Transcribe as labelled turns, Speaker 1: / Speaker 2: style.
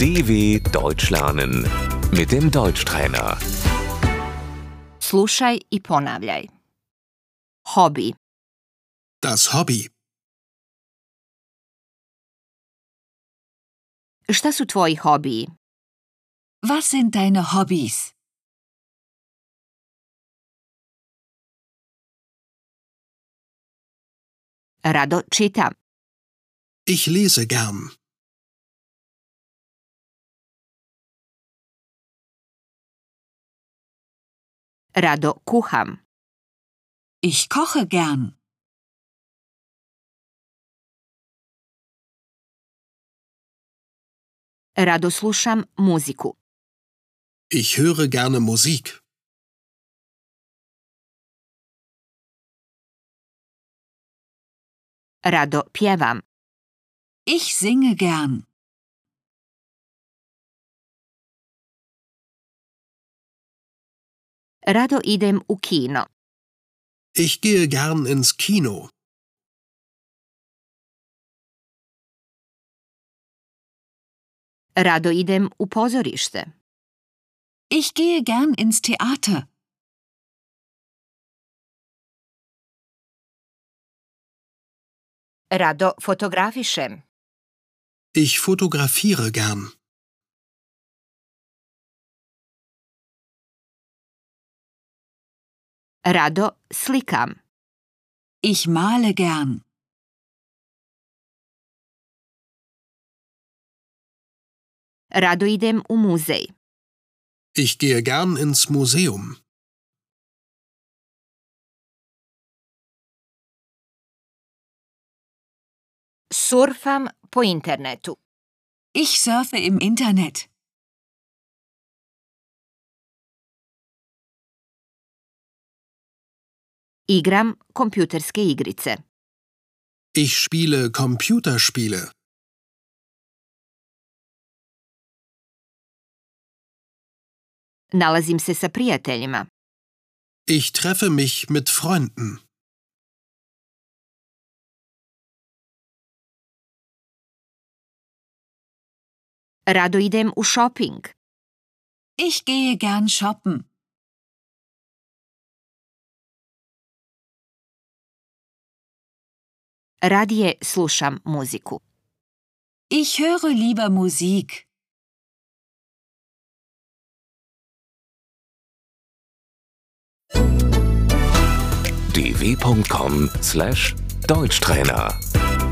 Speaker 1: DW Deutsch lernen mit dem Deutschtrainer.
Speaker 2: Slušaj i ponavljaj. Hobi,
Speaker 3: Das Hobby.
Speaker 2: šta su tvoji hobiji?
Speaker 4: Was sind deine Hobbys?
Speaker 2: Rado čitam.
Speaker 3: Ich lese gern.
Speaker 2: Rado kuham.
Speaker 4: Ich koche gern.
Speaker 2: Rado slušam muziku.
Speaker 3: Ich höre gerne Musik.
Speaker 2: Rado pjevam.
Speaker 4: Ich singe gern.
Speaker 2: Rado idem u kino.
Speaker 3: Ich gehe gern ins Kino.
Speaker 2: Rado idem u pozorište.
Speaker 4: Ich gehe gern ins Theater.
Speaker 2: Rado fotografišem.
Speaker 3: Ich fotografiere gern.
Speaker 2: Rado slikam.
Speaker 4: Ich male gern.
Speaker 2: Rado idem u muzej.
Speaker 3: Ich gehe gern ins Museum.
Speaker 2: Surfam po internetu.
Speaker 4: Ich surfe im Internet.
Speaker 2: Igram kompjuterske igrice.
Speaker 3: Ich spiele Computerspiele.
Speaker 2: Nalazim se sa prijateljima.
Speaker 3: Ich treffe mich mit Freunden.
Speaker 2: Rado idem u shopping.
Speaker 4: Ich gehe gern shoppen.
Speaker 2: Radije slušam muziku.
Speaker 4: Ich höre lieber Musik.
Speaker 1: dw.com/deutschtrainer